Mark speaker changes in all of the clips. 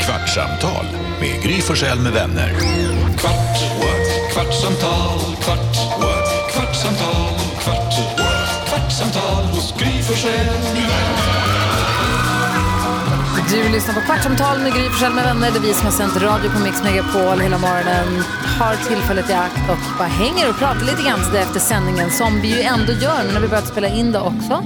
Speaker 1: Kvartsamtal med Gry Forssell med vänner. Kvart, what? kvartsamtal, kvart, what? kvartsamtal, kvart, what? kvartsamtal hos Gry Forssell med vänner.
Speaker 2: Du lyssnar på Kvartsamtal med Gry Forssell med vänner. Det är vi som har sänt radio på Mix Megapol hela morgonen. Har tillfället i akt och bara hänger och pratar lite grann så där efter sändningen. Som vi ju ändå gör nu när vi börjat spela in det också.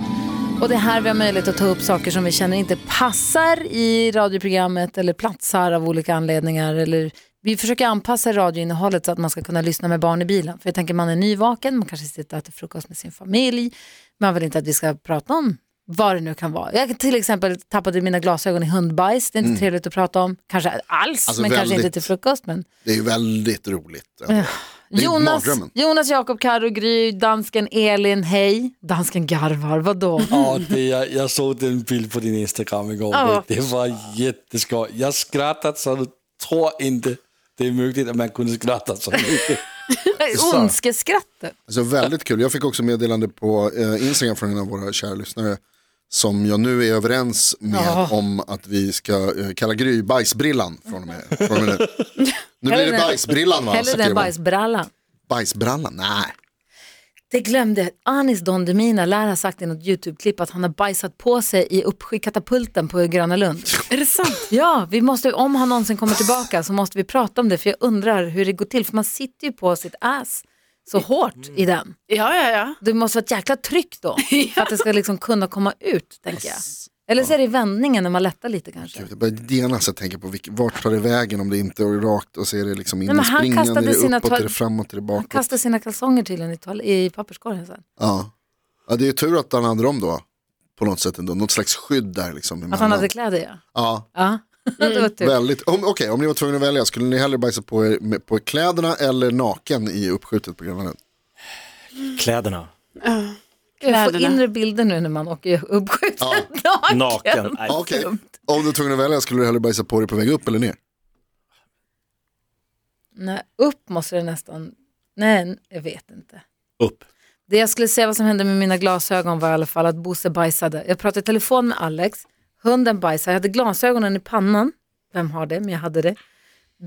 Speaker 2: Och det är här vi har möjlighet att ta upp saker som vi känner inte passar i radioprogrammet eller platsar av olika anledningar. Eller vi försöker anpassa radioinnehållet så att man ska kunna lyssna med barn i bilen. För jag tänker man är nyvaken, man kanske sitter och äter frukost med sin familj. Man vill inte att vi ska prata om vad det nu kan vara. Jag till exempel tappade mina glasögon i hundbajs, det är inte trevligt att prata om. Kanske alls,
Speaker 3: Mm. Alltså
Speaker 2: men kanske
Speaker 3: väldigt-
Speaker 2: inte till frukost. Men...
Speaker 3: Det är ju väldigt roligt. ändå. Det är ju
Speaker 2: Jonas,
Speaker 3: mardrömmen.
Speaker 2: Jonas Jakob Karro Gry, dansken Elin, hej. Dansken garvar, vadå?
Speaker 4: Ja, det, jag, jag såg den bild på din Instagram igår.
Speaker 2: Ja.
Speaker 4: Det, det var jätteskoj. Jag skrattade så du tror inte det är möjligt att man kunde skratta så mycket.
Speaker 2: Ondskeskrattet.
Speaker 3: Alltså väldigt kul. Jag fick också meddelande på eh, Instagram från en av våra kära lyssnare som jag nu är överens med om att vi ska eh, kalla Gry bajsbrillan från och med, från och med nu. Nu blir det
Speaker 2: Hellre-
Speaker 3: bajsbrillan va?
Speaker 2: Hellre
Speaker 3: skriver
Speaker 2: den
Speaker 3: hon.
Speaker 2: bajsbrallan.
Speaker 3: Bajsbrallan? Nej.
Speaker 2: Det glömde jag. Anis Don Demina lär ha sagt i något YouTube-klipp att han har bajsat på sig i uppskickatapulten på Gröna Lund.
Speaker 5: Är det sant?
Speaker 2: Ja, vi måste, om han någonsin kommer tillbaka så måste vi prata om det för jag undrar hur det går till för man sitter ju på sitt ass så
Speaker 5: Mm.
Speaker 2: hårt i den.
Speaker 5: Ja, ja, ja.
Speaker 2: Det måste vara ett jäkla tryck då för att det ska liksom kunna komma ut tänker jag. Eller så är det i vändningen när man lättar lite kanske.
Speaker 3: Gud, jag börjar genast att tänka på vilk, vart tar det vägen om det inte är rakt och så är det liksom in
Speaker 2: men
Speaker 3: i
Speaker 2: han
Speaker 3: springan, är
Speaker 2: kastade
Speaker 3: det
Speaker 2: sina
Speaker 3: uppåt,
Speaker 2: toal-
Speaker 3: är det framåt, är det
Speaker 2: Han
Speaker 3: bakåt?
Speaker 2: kastar sina kalsonger till en i, toal- i papperskorgen sen.
Speaker 3: Ja. ja, det är ju tur att han hade dem då. På något sätt ändå, något slags skydd där liksom.
Speaker 2: Att han
Speaker 3: emellan.
Speaker 2: hade kläder ja.
Speaker 3: Ja,
Speaker 2: ja. det
Speaker 5: Mm.
Speaker 2: var tur.
Speaker 3: Väldigt, om, okej, om ni var tvungna att välja, skulle ni hellre bajsa på er med, på kläderna eller naken i uppskjutet på Gröna Lund?
Speaker 6: Kläderna.
Speaker 2: Jag får
Speaker 5: Kläderna.
Speaker 2: inre bilder nu när man åker uppskjuten naken.
Speaker 6: Naken.
Speaker 3: Ja, Ah, Okej, om du var tvungen att välja, skulle du hellre bajsa på dig på väg upp eller ner?
Speaker 2: Nej, upp måste det nästan... Nej, jag vet inte.
Speaker 6: Upp.
Speaker 2: Det jag skulle säga vad som hände med mina glasögon var i alla fall att Bosse bajsade. Jag pratade i telefon med Alex, hunden bajsade, jag hade glasögonen i pannan. Vem har det? Men jag hade det.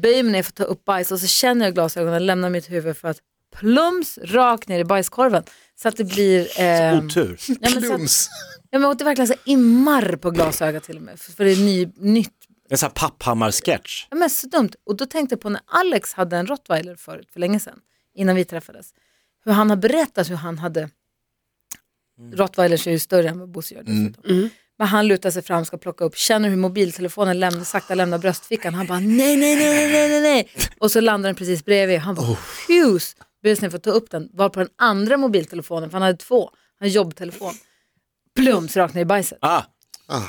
Speaker 2: Böjer mig ner för att ta upp bajs och så känner jag glasögonen lämna mitt huvud för att plums rakt ner i bajskorven. Så att det blir... Eh,
Speaker 6: Otur.
Speaker 2: ja, men så att,
Speaker 3: Plums!
Speaker 2: ja, men åt det verkligen så här immar på glasögat till och med. För, för det är ny, nytt
Speaker 6: En sån här Papphammar-sketch.
Speaker 2: Ja, men så dumt. Och då tänkte jag på när Alex hade en rottweiler förut, för länge sedan, innan vi träffades. Hur han har berättat hur han hade,
Speaker 6: Mm.
Speaker 2: rottweilers är ju större än vad Bosse gör dessutom. Men han lutar sig fram, ska plocka upp, känner hur mobiltelefonen lämnar, sakta lämnar bröstfickan. Han bara nej, nej, nej, nej, nej, nej, nej. Och så landar den precis bredvid. Han bara fjus, böjer sig ner för att ta upp den, var på den andra mobiltelefonen, för han hade två, han jobbtelefon. Plums rakt ner i bajset.
Speaker 6: Ah,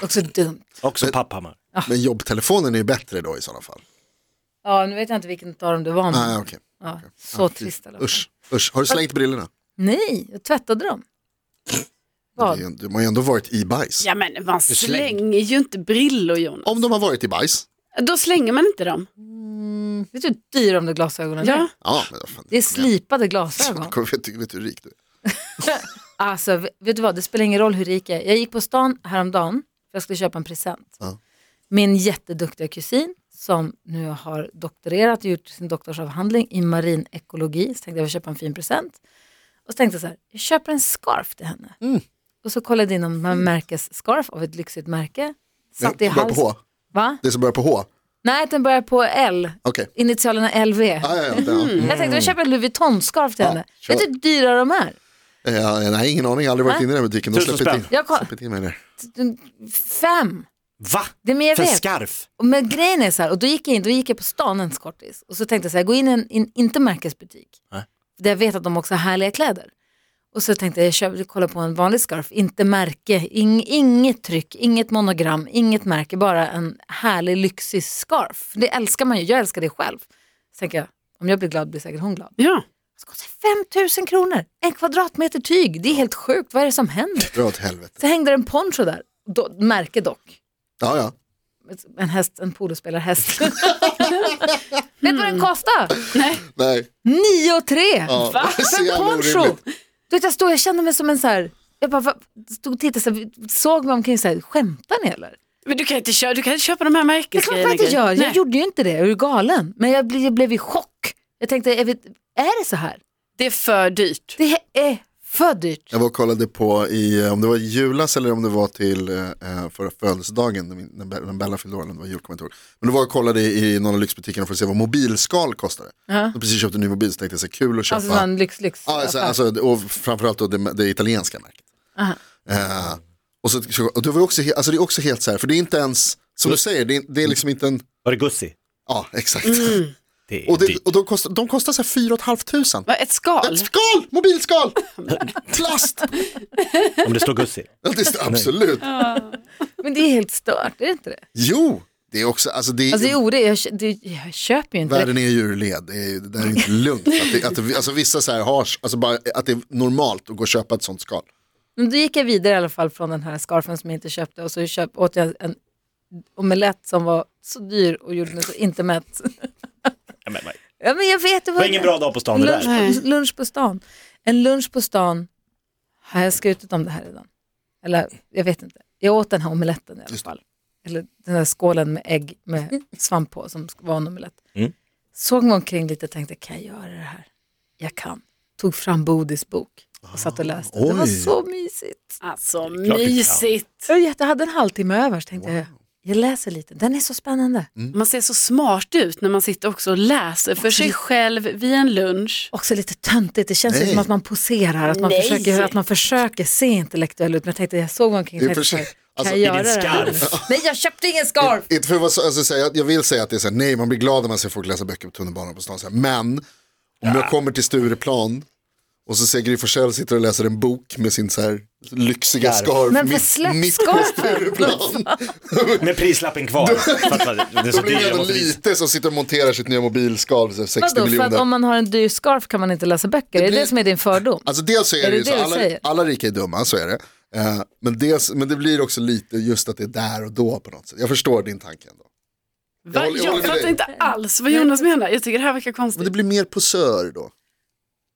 Speaker 2: Också dumt.
Speaker 6: också Papphammar.
Speaker 3: Men jobbtelefonen är ju bättre då i sådana fall.
Speaker 2: Ja, nu vet jag inte vilken av dem det var. men-
Speaker 3: Nej, ah, okej.
Speaker 2: Ja, så Mm. trist i alla fall.
Speaker 3: Usch, usch. Har du slängt brillorna?
Speaker 2: Nej, jag tvättade dem. Vad?
Speaker 3: Det är- De har ju ändå varit i bajs.
Speaker 5: Ja, men man
Speaker 6: slänger.
Speaker 5: slänger ju inte brillor, Jonas.
Speaker 3: Om de har varit i bajs,
Speaker 5: Då slänger man inte dem.
Speaker 2: mm. Vet du hur dyra de där glasögonen
Speaker 5: Ja.
Speaker 2: är?
Speaker 3: ja, men vad fan.
Speaker 2: Det är slipade glasögon.
Speaker 3: Kom, vet, du- vet du hur rik du är?
Speaker 2: Alltså, v- vet du vad, det spelar ingen roll hur rik jag är. Jag gick på stan häromdagen för jag skulle köpa en present.
Speaker 3: Ja.
Speaker 2: Min jätteduktiga kusin som nu har doktorerat och gjort sin doktorsavhandling i marinekologi. Så tänkte jag, jag vill köpa en fin present. Och så tänkte jag så här, jag köper en scarf till henne.
Speaker 3: Mm.
Speaker 2: Och så kollade jag in om man märkes scarf av ett lyxigt märke. Satt i
Speaker 3: Det som börjar på
Speaker 2: halsen.
Speaker 3: H.
Speaker 2: Va?
Speaker 3: Det som börjar på H?
Speaker 2: Nej, den börjar på L.
Speaker 3: Okej.
Speaker 2: Initialerna LV.
Speaker 3: Ah, ja, ja, det- ja.
Speaker 2: Jag tänkte jag köper en Louis Vuitton-scarf till henne.
Speaker 3: kör.
Speaker 2: Vet du hur dyra de är?
Speaker 3: Eh, nej, ingen aning. Jag har aldrig varit
Speaker 2: Nej.
Speaker 3: inne i den här butiken. De
Speaker 6: Tusen
Speaker 3: släpper inte
Speaker 6: spänn.
Speaker 3: in,
Speaker 2: Jag koll-
Speaker 3: släpper inte in mig där.
Speaker 2: Fem.
Speaker 6: Va?
Speaker 2: Det är mer jag
Speaker 6: För
Speaker 2: vet.
Speaker 6: skarf?
Speaker 2: Och Men grejen är så här, och då gick jag in, då gick jag på stan en kortis och så tänkte jag så här, gå in i en, in, inte märkesbutik.
Speaker 6: Nej.
Speaker 2: Där jag vet att de också har härliga kläder. Och så tänkte jag, jag köper, kollar på en vanlig scarf, inte märke, ing, inget tryck, inget monogram, inget märke, bara en härlig lyxig scarf. Det älskar man ju, jag älskar det själv. Så tänker jag, om jag blir glad blir säkert hon glad.
Speaker 5: Ja.
Speaker 2: Det kostar 5 000 kronor, en kvadratmeter tyg, det är helt sjukt, vad är det som händer?
Speaker 3: Dra åt helvete.
Speaker 2: Så hängde det en poncho där, då, märke dock.
Speaker 3: Ja, ja.
Speaker 2: En häst, en polospelarhäst. Vet du vad den kostade?
Speaker 3: Nej.
Speaker 2: 9 och 3!
Speaker 3: Ja. Det är så
Speaker 2: För en
Speaker 3: jävla
Speaker 2: poncho!
Speaker 3: orimligt.
Speaker 2: Du vet, jag, stod, jag kände mig som en så här, jag bara va- stod och tittade, så här, såg mig omkring så här, skämtar ni eller?
Speaker 5: Men du kan inte köpa, du kan inte köpa de här
Speaker 2: Det är klart man
Speaker 5: märkesgrejerna.
Speaker 2: inte gör. Jag
Speaker 5: Nej.
Speaker 2: gjorde ju inte det. Jag är ju galen. Men jag blev, jag blev i chock. Jag tänkte, är, vi, är det så här?
Speaker 5: Det är för dyrt.
Speaker 2: Det är för dyrt.
Speaker 3: Jag var och kollade på i, eh, om det var i julas eller om det var till eh, förra födelsedagen, när min- när Be- när Bella fyllde år, eller om det var jul, kommer jag inte ihåg. Men då var jag och kollade i någon av lyxbutikerna för att se vad mobilskal kostade. Jag precis köpte en ny mobil så tänkte jag så här, kul att köpa.
Speaker 2: Alltså sån lyx, lyx.
Speaker 3: Ja, alltså, alltså, och framförallt då det, det italienska märket. Eh, och så, så- och det, var ju också, he- alltså, det är också helt så här, för det är inte ens, som du säger, det är, det är liksom inte en,
Speaker 6: Var det Gussi?
Speaker 3: ja exakt.
Speaker 6: Det är
Speaker 3: Och, det,
Speaker 6: dyrt.
Speaker 3: och de kostar, de kostar så här 4 500.
Speaker 5: Va, Ett skal?
Speaker 3: Ett skal, mobilskal, plast.
Speaker 6: Om det står Gussi.
Speaker 3: Ja, det är, absolut.
Speaker 2: Men det är helt stört, är det inte det?
Speaker 3: Jo, det är också, alltså det är,
Speaker 2: Alltså det är ore, jag, kö- det, jag köper ju inte det.
Speaker 3: världen är ju ur led, det, är, det där är inte lugnt. Att det, att det, alltså vissa så här har, alltså bara att det är normalt att gå och köpa ett sånt skal.
Speaker 2: Men då gick jag vidare i alla fall från den här scarfen som jag inte köpte och så köp, åt jag en omelett som var så dyr och gjorde mig så inte mätt.
Speaker 6: Ja, men, men.
Speaker 2: Ja, men jag vet, det
Speaker 6: Det var ingen bra dag på stan det
Speaker 2: lunch,
Speaker 6: där.
Speaker 2: på, lunch på stan. En lunch på stan, har jag skrutit om det här redan? Eller jag vet inte. Jag åt den här omeletten i alla fall. Eller den där skålen med ägg med svamp på som ska vara en omelett.
Speaker 6: Mm.
Speaker 2: Såg mig omkring lite och tänkte, kan jag göra det här? Jag kan. Tog fram Bodis bok och
Speaker 6: Ah,
Speaker 2: satt och läste. Det var
Speaker 3: oj.
Speaker 2: så mysigt.
Speaker 5: Alltså
Speaker 6: du kan.
Speaker 5: mysigt.
Speaker 2: Jag jätte- hade en halvtimme över så tänkte jag, jag läser lite. Den är så spännande.
Speaker 3: Mm.
Speaker 5: Man ser så smart ut när man sitter också och läser för sig själv vid en lunch.
Speaker 2: också lite töntigt, det känns ju
Speaker 3: Nej.
Speaker 2: som att man poserar, att man,
Speaker 5: Nej.
Speaker 2: försöker, att man försöker se intellektuell ut. Men jag tänkte, jag såg omkring och
Speaker 3: Det är
Speaker 2: tänkte, så
Speaker 3: för
Speaker 2: här,
Speaker 3: sig-
Speaker 2: kan
Speaker 3: alltså,
Speaker 2: jag göra
Speaker 6: i din
Speaker 2: det här? Nej, jag köpte ingen scarf!
Speaker 3: Inte för att vara så, alltså, säga, jag vill säga att det är så här, nej man blir glad när man ser folk läsa böcker på tunnelbanan på stan. Så här, men om jag kommer till Stureplan och så ser Gry Forssell sitter och läser en bok med sin så här lyxiga
Speaker 6: Scarf.
Speaker 3: scarf
Speaker 2: Men för
Speaker 3: mitt,
Speaker 2: släpp
Speaker 3: mitt på
Speaker 2: scarfen.
Speaker 3: Stureplan.
Speaker 6: Med prislappen kvar. För att det är så
Speaker 3: Då blir det
Speaker 6: dyrt. jag
Speaker 3: ändå
Speaker 6: måste visa.
Speaker 3: lite som sitter och monterar sitt nya mobilskal för så här 60
Speaker 2: Vadå, för att
Speaker 3: miljoner.
Speaker 2: om man har en dyr scarf kan man inte läsa böcker? Är det
Speaker 3: blir-
Speaker 2: det som är din fördom?
Speaker 3: Alltså dels så är,
Speaker 2: Är
Speaker 3: det
Speaker 2: det
Speaker 3: ju
Speaker 2: det
Speaker 3: så,
Speaker 2: du
Speaker 3: alla,
Speaker 2: säger?
Speaker 3: alla rika är dumma, så är det. Eh, men, dels, men det blir också lite just att det är där och då på något sätt. Jag förstår din tanke ändå.
Speaker 5: Va?
Speaker 3: håller- jag
Speaker 5: Jag
Speaker 3: håller med
Speaker 5: fattar
Speaker 3: dig.
Speaker 5: inte alls vad Jonas menar. Jag tycker det här verkar
Speaker 3: Men det
Speaker 5: konstigt.
Speaker 3: blir mer posör då.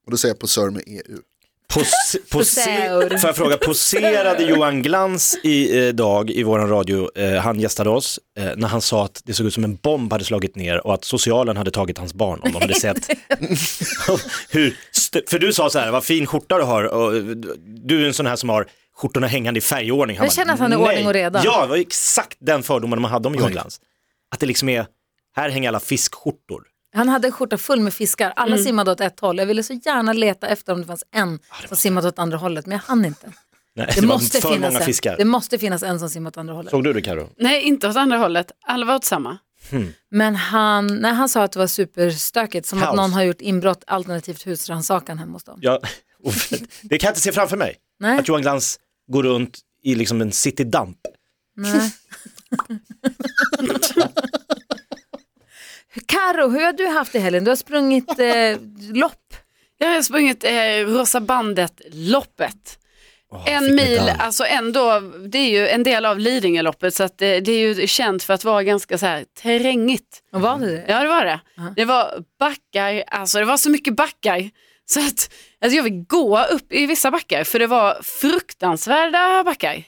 Speaker 3: Och då säger jag posör med E EU.
Speaker 6: Pos-
Speaker 2: Poseur.
Speaker 6: pose- Får jag fråga, poserade Johan Glans i eh, dag i vår radio, eh, han gästade oss, eh, när han sa att det såg ut som en bomb hade slagit ner och att socialen hade tagit hans barn om de hade sett. Hur st- för du sa så här, vad fin skjorta du har, och eh, du är en sån här som har skjortorna hängande i färgordning. Han
Speaker 2: Jag
Speaker 6: bara,
Speaker 2: känner att han är
Speaker 6: "Nej."
Speaker 2: ordning och reda.
Speaker 6: Ja, det var exakt den fördomen man hade om Johan Glans. Att det liksom är, här hänger alla fiskskjortor.
Speaker 2: Han hade en skjorta full med fiskar, alla simmade åt ett håll. Jag ville så gärna leta efter om det fanns en som simmade åt andra hållet, men jag hann inte.
Speaker 6: Nej,
Speaker 2: Det, måste,
Speaker 6: var för många
Speaker 2: finnas en.
Speaker 6: fiskar.
Speaker 2: det måste finnas en som simmar åt andra hållet.
Speaker 6: Såg du det Karo?
Speaker 5: Nej, inte åt andra hållet. Alla var åt samma.
Speaker 2: Men han, när han sa att det var superstökigt, som att
Speaker 6: Kaos.
Speaker 2: någon har gjort inbrott alternativt husrannsakan hemma hos dem.
Speaker 6: Ja, och det kan jag inte se framför mig.
Speaker 2: Nej.
Speaker 6: Att Johan Glans går runt i liksom en citydamp.
Speaker 2: Nej. Karo, hur har du haft det i helgen? Du har sprungit eh, lopp.
Speaker 5: Jag har sprungit eh, Rosa bandet-loppet. en mil, alltså ändå, det är ju en del av Lidingöloppet så att eh, det är ju känt för att vara ganska så här terrängigt.
Speaker 2: Och var det det?
Speaker 5: Mm. Ja det var det. Det var backar, alltså det var så mycket backar. Så att alltså jag vill gå upp i vissa backar för det var fruktansvärda backar.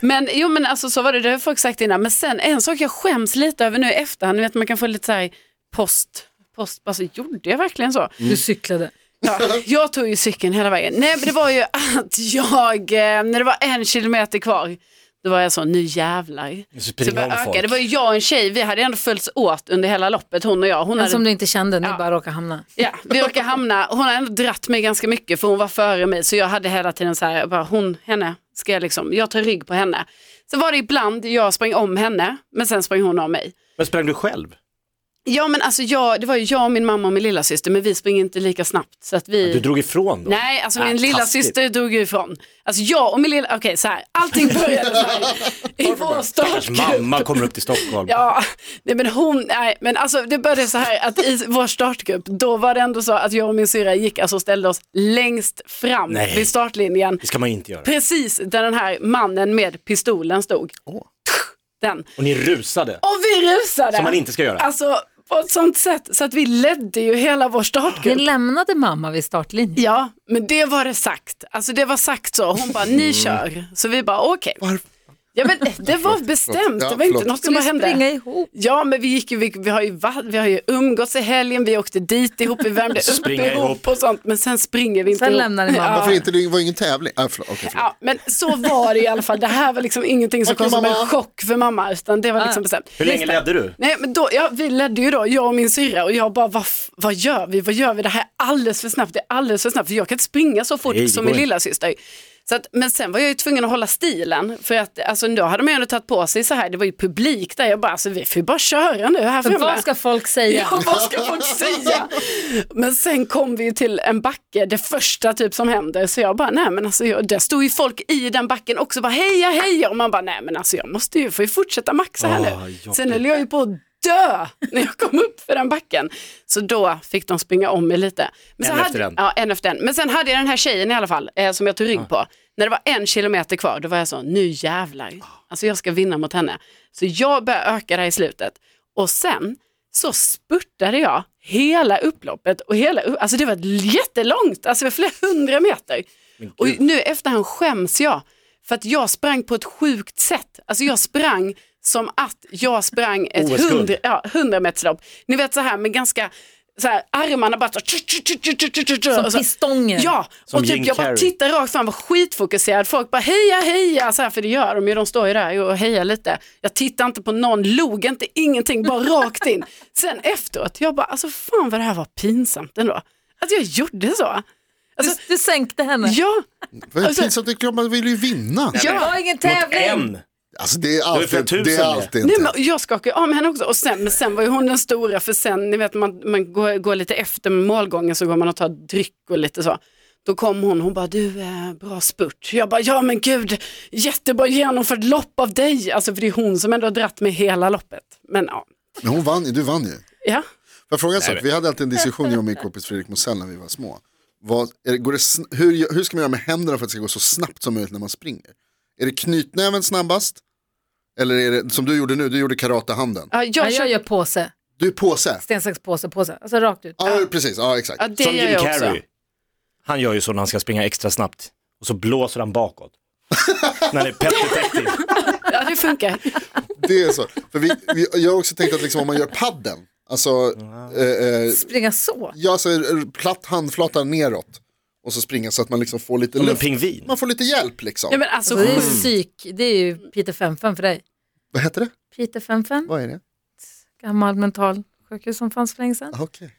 Speaker 5: men jo men alltså så var det, det har folk sagt innan. Men sen en sak jag skäms lite över nu i efterhand, ni vet man kan få lite så här post, post, alltså gjorde jag verkligen så?
Speaker 2: Du cyklade.
Speaker 5: Ja, jag tog ju cykeln hela vägen. Nej men det var ju att jag, eh, när det var en kilometer kvar, då var jag så, nu jävlar.
Speaker 6: Så
Speaker 5: Så det,
Speaker 6: springer
Speaker 5: började
Speaker 6: om folk.
Speaker 5: öka. det var ju jag och en tjej, vi hade ändå följts åt under hela loppet, hon och jag. Hon
Speaker 2: Den
Speaker 5: hade,
Speaker 2: som du inte kände, ni
Speaker 5: Ja.
Speaker 2: bara råkade hamna.
Speaker 5: ja, vi råkade hamna, hon hade ändå dratt mig ganska mycket för hon var före mig. Så jag hade hela tiden så här, jag bara, hon, henne, ska jag liksom, jag tar rygg på henne. Sen var det ibland jag sprang om henne, men sen sprang hon om mig.
Speaker 6: Men sprang du själv?
Speaker 5: Ja men alltså jag, det var ju jag, min mamma och min lilla syster men vi springer inte lika snabbt. Så att vi...
Speaker 6: Du drog ifrån då?
Speaker 5: Nej, alltså min
Speaker 6: Ah,
Speaker 5: lilla
Speaker 6: taskigt.
Speaker 5: syster drog ju ifrån. Alltså jag och min lilla, okej så här, allting började så här, i vår
Speaker 6: Stackars
Speaker 5: startgrupp.
Speaker 6: mamma kommer upp till Stockholm.
Speaker 5: Ja, nej men hon, nej men alltså det började så här att i vår startgrupp, då var det ändå så att jag och min syrra gick alltså och ställde oss längst fram
Speaker 6: Nej.
Speaker 5: vid startlinjen.
Speaker 6: Det ska man inte göra.
Speaker 5: Precis där den här mannen med pistolen stod. Den.
Speaker 6: Och ni rusade.
Speaker 5: Och vi rusade.
Speaker 6: Som man inte ska göra.
Speaker 5: Alltså på ett sånt sätt så att vi ledde ju hela vår
Speaker 2: Ni
Speaker 5: startgrupp.
Speaker 2: lämnade mamma vid startlinjen.
Speaker 5: Ja, men det var det sagt. Alltså det var sagt så. Hon bara, ni kör. Så vi bara, okej. Ja, men det var bestämt,
Speaker 3: Ja,
Speaker 5: det var inte
Speaker 3: förlåt.
Speaker 5: något som
Speaker 2: Skulle
Speaker 5: bara hände.
Speaker 2: springa ihop.
Speaker 5: Ja, men vi, gick, ju- vi, vi, har ju, va- vi har ju umgåtts i helgen, vi åkte dit ihop, vi värmde upp
Speaker 6: Springa ihop.
Speaker 5: ihop och sånt, men sen springer vi inte
Speaker 2: Sen
Speaker 5: ihop.
Speaker 2: lämnar ni
Speaker 5: ja.
Speaker 2: mamma.
Speaker 3: Varför inte? Det var ingen tävling. Ah, förlåt. Okej, förlåt.
Speaker 5: Ja, men så var det i alla fall. Det här var liksom ingenting som
Speaker 3: Okej,
Speaker 5: kom som en
Speaker 3: mamma.
Speaker 5: chock för mamma, utan det var liksom bestämt.
Speaker 6: Hur länge ledde du?
Speaker 5: Nej, men då, ja, vi ledde ju då, jag och min syrra, och jag bara, vad, f- vad gör vi? Vad gör vi? Det här är alldeles för snabbt, det är alldeles för snabbt, för jag kan inte springa så fort
Speaker 6: Nej, det
Speaker 5: som
Speaker 6: går
Speaker 5: min
Speaker 6: inte.
Speaker 5: lilla syster. Så att, men sen var jag ju tvungen att hålla stilen, för att alltså, då hade man ju ändå tagit på sig så här, det var ju publik där, jag bara, alltså, vi får ju bara köra nu här framme.
Speaker 2: Vad ska folk säga?
Speaker 5: Ja, vad ska folk säga? Men sen kom vi ju till en backe, det första typ som händer, så jag bara, nej men alltså, jag, där stod ju folk i den backen också, bara heja, heja, och man bara, nej men alltså jag måste ju, får ju fortsätta maxa här
Speaker 6: Åh,
Speaker 5: nu.
Speaker 6: jobbigt.
Speaker 5: Sen höll jag ju på att dö när jag kom upp för den backen. Så då fick de springa om mig lite. Men så
Speaker 6: En
Speaker 5: hade,
Speaker 6: efter en.
Speaker 5: Ja, en efter en. Men sen hade jag den här tjejen i alla fall, eh, som jag tog rygg på. När det var en kilometer kvar, då var jag så, nu jävlar. Alltså jag ska vinna mot henne. Så jag började öka där i slutet. Och sen så spurtade jag hela upploppet. Och hela, upp- alltså det var jättelångt, alltså det var flera hundra meter. Och nu efterhand skäms jag. För att jag sprang på ett sjukt sätt. Alltså jag sprang som att jag sprang ett
Speaker 6: OS-guld.
Speaker 5: hundra, ja, 100 meterslopp. Ni vet så här med ganska så här, armarna bara så,
Speaker 2: Som
Speaker 5: och så-
Speaker 2: pistonger.
Speaker 5: Alltså, Ja,
Speaker 6: Som
Speaker 5: och typ
Speaker 6: Jim
Speaker 5: jag bara
Speaker 6: Carrey.
Speaker 5: tittar rakt fram, var skitfokuserad. Folk bara heja, heja, så här, för det gör de ju, de står ju där och hejar lite. Jag tittar inte på någon, log inte, ingenting, bara rakt in. Sen efteråt, jag bara, alltså fan vad det här var pinsamt ändå. Att jag gjorde så.
Speaker 2: Du, du sänkte henne.
Speaker 5: Ja,
Speaker 3: Vad är det
Speaker 5: Alltså-
Speaker 3: pinsamt? Det är klart man vill ju vinna.
Speaker 2: Det var ingen tävling.
Speaker 6: En.
Speaker 3: Alltså, det är
Speaker 6: flera
Speaker 3: alltid,
Speaker 6: tusen
Speaker 3: det är
Speaker 6: med.
Speaker 3: alltid en
Speaker 5: Nej,
Speaker 3: tävling.
Speaker 5: men jag skakade av med henne också. Och sen, men sen var ju hon den stora, för sen, ni vet, man, man går, går lite efter med målgången så går man och tar dryck och lite så. Då kom hon, hon bara, du, eh, bra spurt. Jag bara, ja men gud, jättebra genomförd lopp av dig. Alltså för det är hon som ändå har dratt med hela loppet. Men ja.
Speaker 3: Men hon vann ju, du vann ju.
Speaker 5: ja.
Speaker 3: Får jag fråga en sak? Vi hade alltid en diskussion, jag och min kompis Fredrik Mosell när vi var små. Vad, är det, går det, sn- hur, hur ska man göra med händerna för att det ska gå så snabbt som möjligt när man springer? Är det knytnäven snabbast? Eller är det som du gjorde nu, du gjorde karatehanden.
Speaker 5: ja
Speaker 2: Ja,
Speaker 5: jag
Speaker 2: jag
Speaker 5: kör,
Speaker 2: gör påse.
Speaker 3: Du är påse.
Speaker 2: Sten, sax, påse, påse. Alltså rakt ut.
Speaker 3: Ja, precis. Ja, exakt.
Speaker 5: ja, det
Speaker 6: Som
Speaker 5: gör
Speaker 6: Jim
Speaker 5: jag också.
Speaker 6: Carrey. Han gör ju så när han ska springa extra snabbt. Och så blåser han bakåt. när det är pet detective.
Speaker 5: Ja, det funkar.
Speaker 3: Det är så. För vi, vi, jag har också tänkt att liksom, om man gör padden, alltså, eh, eh,
Speaker 2: Springa så.
Speaker 3: ja, alltså eh, platt handflata neråt och så springa så att man liksom får lite
Speaker 6: Som en
Speaker 3: luft.
Speaker 6: pingvin.
Speaker 3: Man får lite hjälp liksom.
Speaker 5: Ja, men alltså,
Speaker 2: Så det är ju psyk. Det är ju Peter 55 för dig.
Speaker 3: Vad heter det?
Speaker 2: Peter 55,
Speaker 3: Vad är det?
Speaker 2: gammal mental sjukhus som fanns för länge sedan.
Speaker 3: Ah, Okej.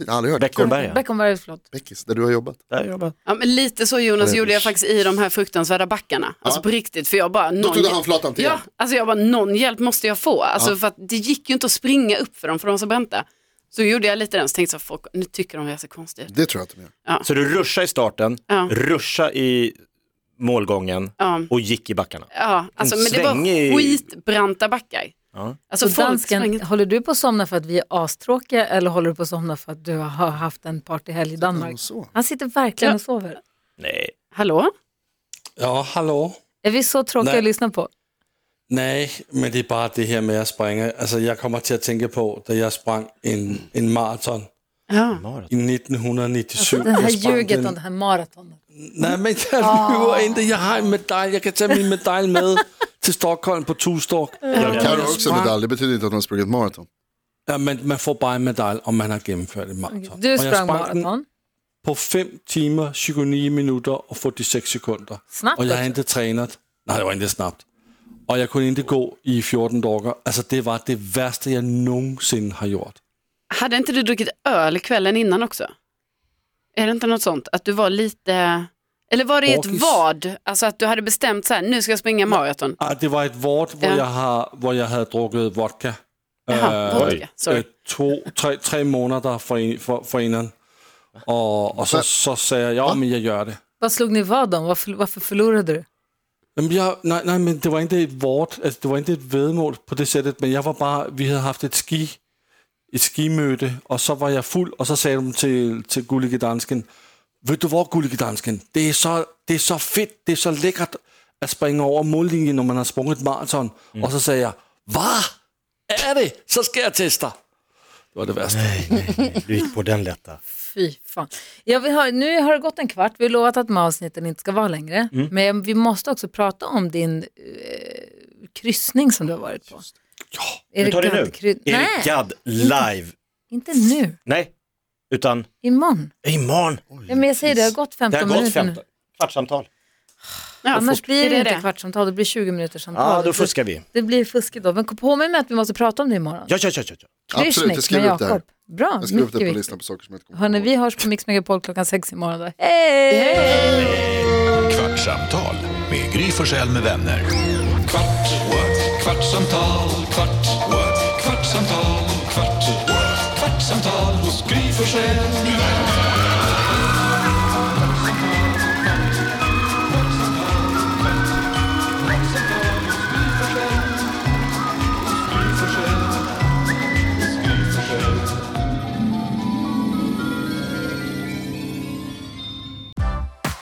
Speaker 3: Okay. Aldrig hört.
Speaker 6: Beckomberga.
Speaker 2: Beckomberga, förlåt.
Speaker 3: Beckis, där du har jobbat.
Speaker 6: Där jobbar
Speaker 5: ja, men lite så Jonas gjorde jag faktiskt i de här fruktansvärda backarna. Alltså på riktigt, för jag bara...
Speaker 3: Då
Speaker 5: någon-
Speaker 3: tog du handflatan till
Speaker 5: Ja,
Speaker 3: hjälp.
Speaker 5: alltså jag bara någon hjälp måste jag få. Alltså för att det gick ju inte att springa upp för dem för de var så bränta. Så gjorde jag lite den så tänkte jag folk, nu tycker de jag är så konstig ut.
Speaker 3: Det tror jag att de gör.
Speaker 6: Så du ruschade i starten,
Speaker 5: Ja.
Speaker 6: ruschade i målgången
Speaker 5: Ja,
Speaker 6: och gick i backarna.
Speaker 5: ja. Alltså, men det
Speaker 6: svängig-
Speaker 5: var skitbranta backar.
Speaker 6: Ja.
Speaker 5: Alltså
Speaker 2: Och
Speaker 5: folk
Speaker 2: dansken,
Speaker 5: sprang-
Speaker 2: håller du på att somna för att vi är astråkiga eller håller du på att somna för att du har haft en partyhelg i Danmark?
Speaker 3: Och så.
Speaker 2: Han sitter verkligen
Speaker 5: Ja.
Speaker 2: och sover.
Speaker 6: Nej,
Speaker 5: Hallå?
Speaker 4: Ja, hallå?
Speaker 2: Är vi så tråkiga
Speaker 4: Nej.
Speaker 2: att lyssna på?
Speaker 4: Nej, men det är bara det her med at springe. Altså, jeg kommer til at tænke på, da jeg sprang en, en maraton
Speaker 5: Ja.
Speaker 4: i 1997.
Speaker 2: Det här
Speaker 4: Jeg sprang
Speaker 2: ljuget Ah.
Speaker 4: den-
Speaker 2: om det här maratonet.
Speaker 4: Nej, men jeg lyver ikke. Jeg har en medalje. Jeg kan tage min medalje med til Stockholm på Tustork.
Speaker 3: Kan
Speaker 4: Jeg
Speaker 3: har också
Speaker 4: sprang-
Speaker 3: medalj, det betyder inte att man har sprungit maraton.
Speaker 4: Ja, men man får bare en medalje, om man har gennemført en maraton.
Speaker 2: Du
Speaker 4: og jeg
Speaker 2: sprang
Speaker 4: sprang den
Speaker 2: maraton.
Speaker 4: på 5 timer, 29 minutter og 46 sekunder.
Speaker 2: Snabbt
Speaker 4: Og jeg har
Speaker 2: også.
Speaker 4: ikke trænet. Nej, det var ikke snabbt. Og jeg kunne ikke gå i 14 dager. Altså, det var det værste, jeg nogensinde har gjort.
Speaker 5: Hade inte du druckit öl kvällen innan också? Är det inte något sånt? Att du var lite... Eller var det ett
Speaker 4: Bakis.
Speaker 5: vad? Alltså att du hade bestämt så här, nu ska jag springa maraton.
Speaker 4: Ah, det var et vort, hvor,
Speaker 5: Ja.
Speaker 4: jeg har, hvor jeg havde drukket vodka.
Speaker 5: Jaha, vodka. Sorry.
Speaker 4: øh, to, tre, tre måneder for, en, for, for inderen. Og, og så, så sagde jeg, ja, men jeg gør det.
Speaker 2: Vad slog ni vad om? Varför, varför förlorade du?
Speaker 4: Jamen, jeg, nej, nej, men det var ikke et vort, altså, det var ikke et vedmål på det sættet, men jeg var bare, vi havde haft et ski, et skimøde, og så var jeg fuld, og så sagde de til, til Gullige Dansken, ved du hvor, Gullige Dansken, det er, så, det er så fedt, det er så lækkert at springe over mållinjen, når man har sprunget et maraton. Mm. Og så sagde jeg, hvad er det? Så skal jeg teste dig. Det var det værste.
Speaker 6: du gick på den lätta.
Speaker 2: Fy fan. Ja, vi har, nu har det
Speaker 3: Mm.
Speaker 2: gått en kvart, vi har lovat att de här avsnitten inte ska vara längre. Men vi måste också prata om din eh, kryssning som du har varit på. Ja,
Speaker 6: Vi tar det nu. Erik
Speaker 2: Nej,
Speaker 6: Gadd live.
Speaker 2: inte nu.
Speaker 6: Nej, utan
Speaker 2: Imorgon.
Speaker 6: imorgon.
Speaker 2: Ja, men jag säger det, det har gått
Speaker 6: Det
Speaker 2: 15
Speaker 6: har gått
Speaker 2: minuter nu.
Speaker 6: 15. Kvartssamtal.
Speaker 5: Ja,
Speaker 2: Annars
Speaker 5: fort.
Speaker 2: blir det,
Speaker 5: Är
Speaker 2: inte kvartssamtal, det blir 20 minuters samtal.
Speaker 6: Ja, då fuskar vi.
Speaker 2: Det blir fuskigt då. Men kom på mig med att vi måste prata om det imorgon.
Speaker 6: Ja, ja, ja, ja. ja.
Speaker 3: Absolut, jag skriver upp det här.
Speaker 2: Bra,
Speaker 3: Jag skriver upp
Speaker 2: mycket
Speaker 3: det på
Speaker 2: viktigt.
Speaker 3: listan på saker som jag inte kommer
Speaker 2: Hörni,
Speaker 3: ihåg.
Speaker 2: vi hörs på Mix Megapol klockan sex imorgon då. Hej!
Speaker 1: Kvartsamtal med Gry Forssell med vänner. Kvart, what? kvartsamtal, kvart, what? kvartsamtal, kvart, what? kvartsamtal hos Gry Forssell med vänner.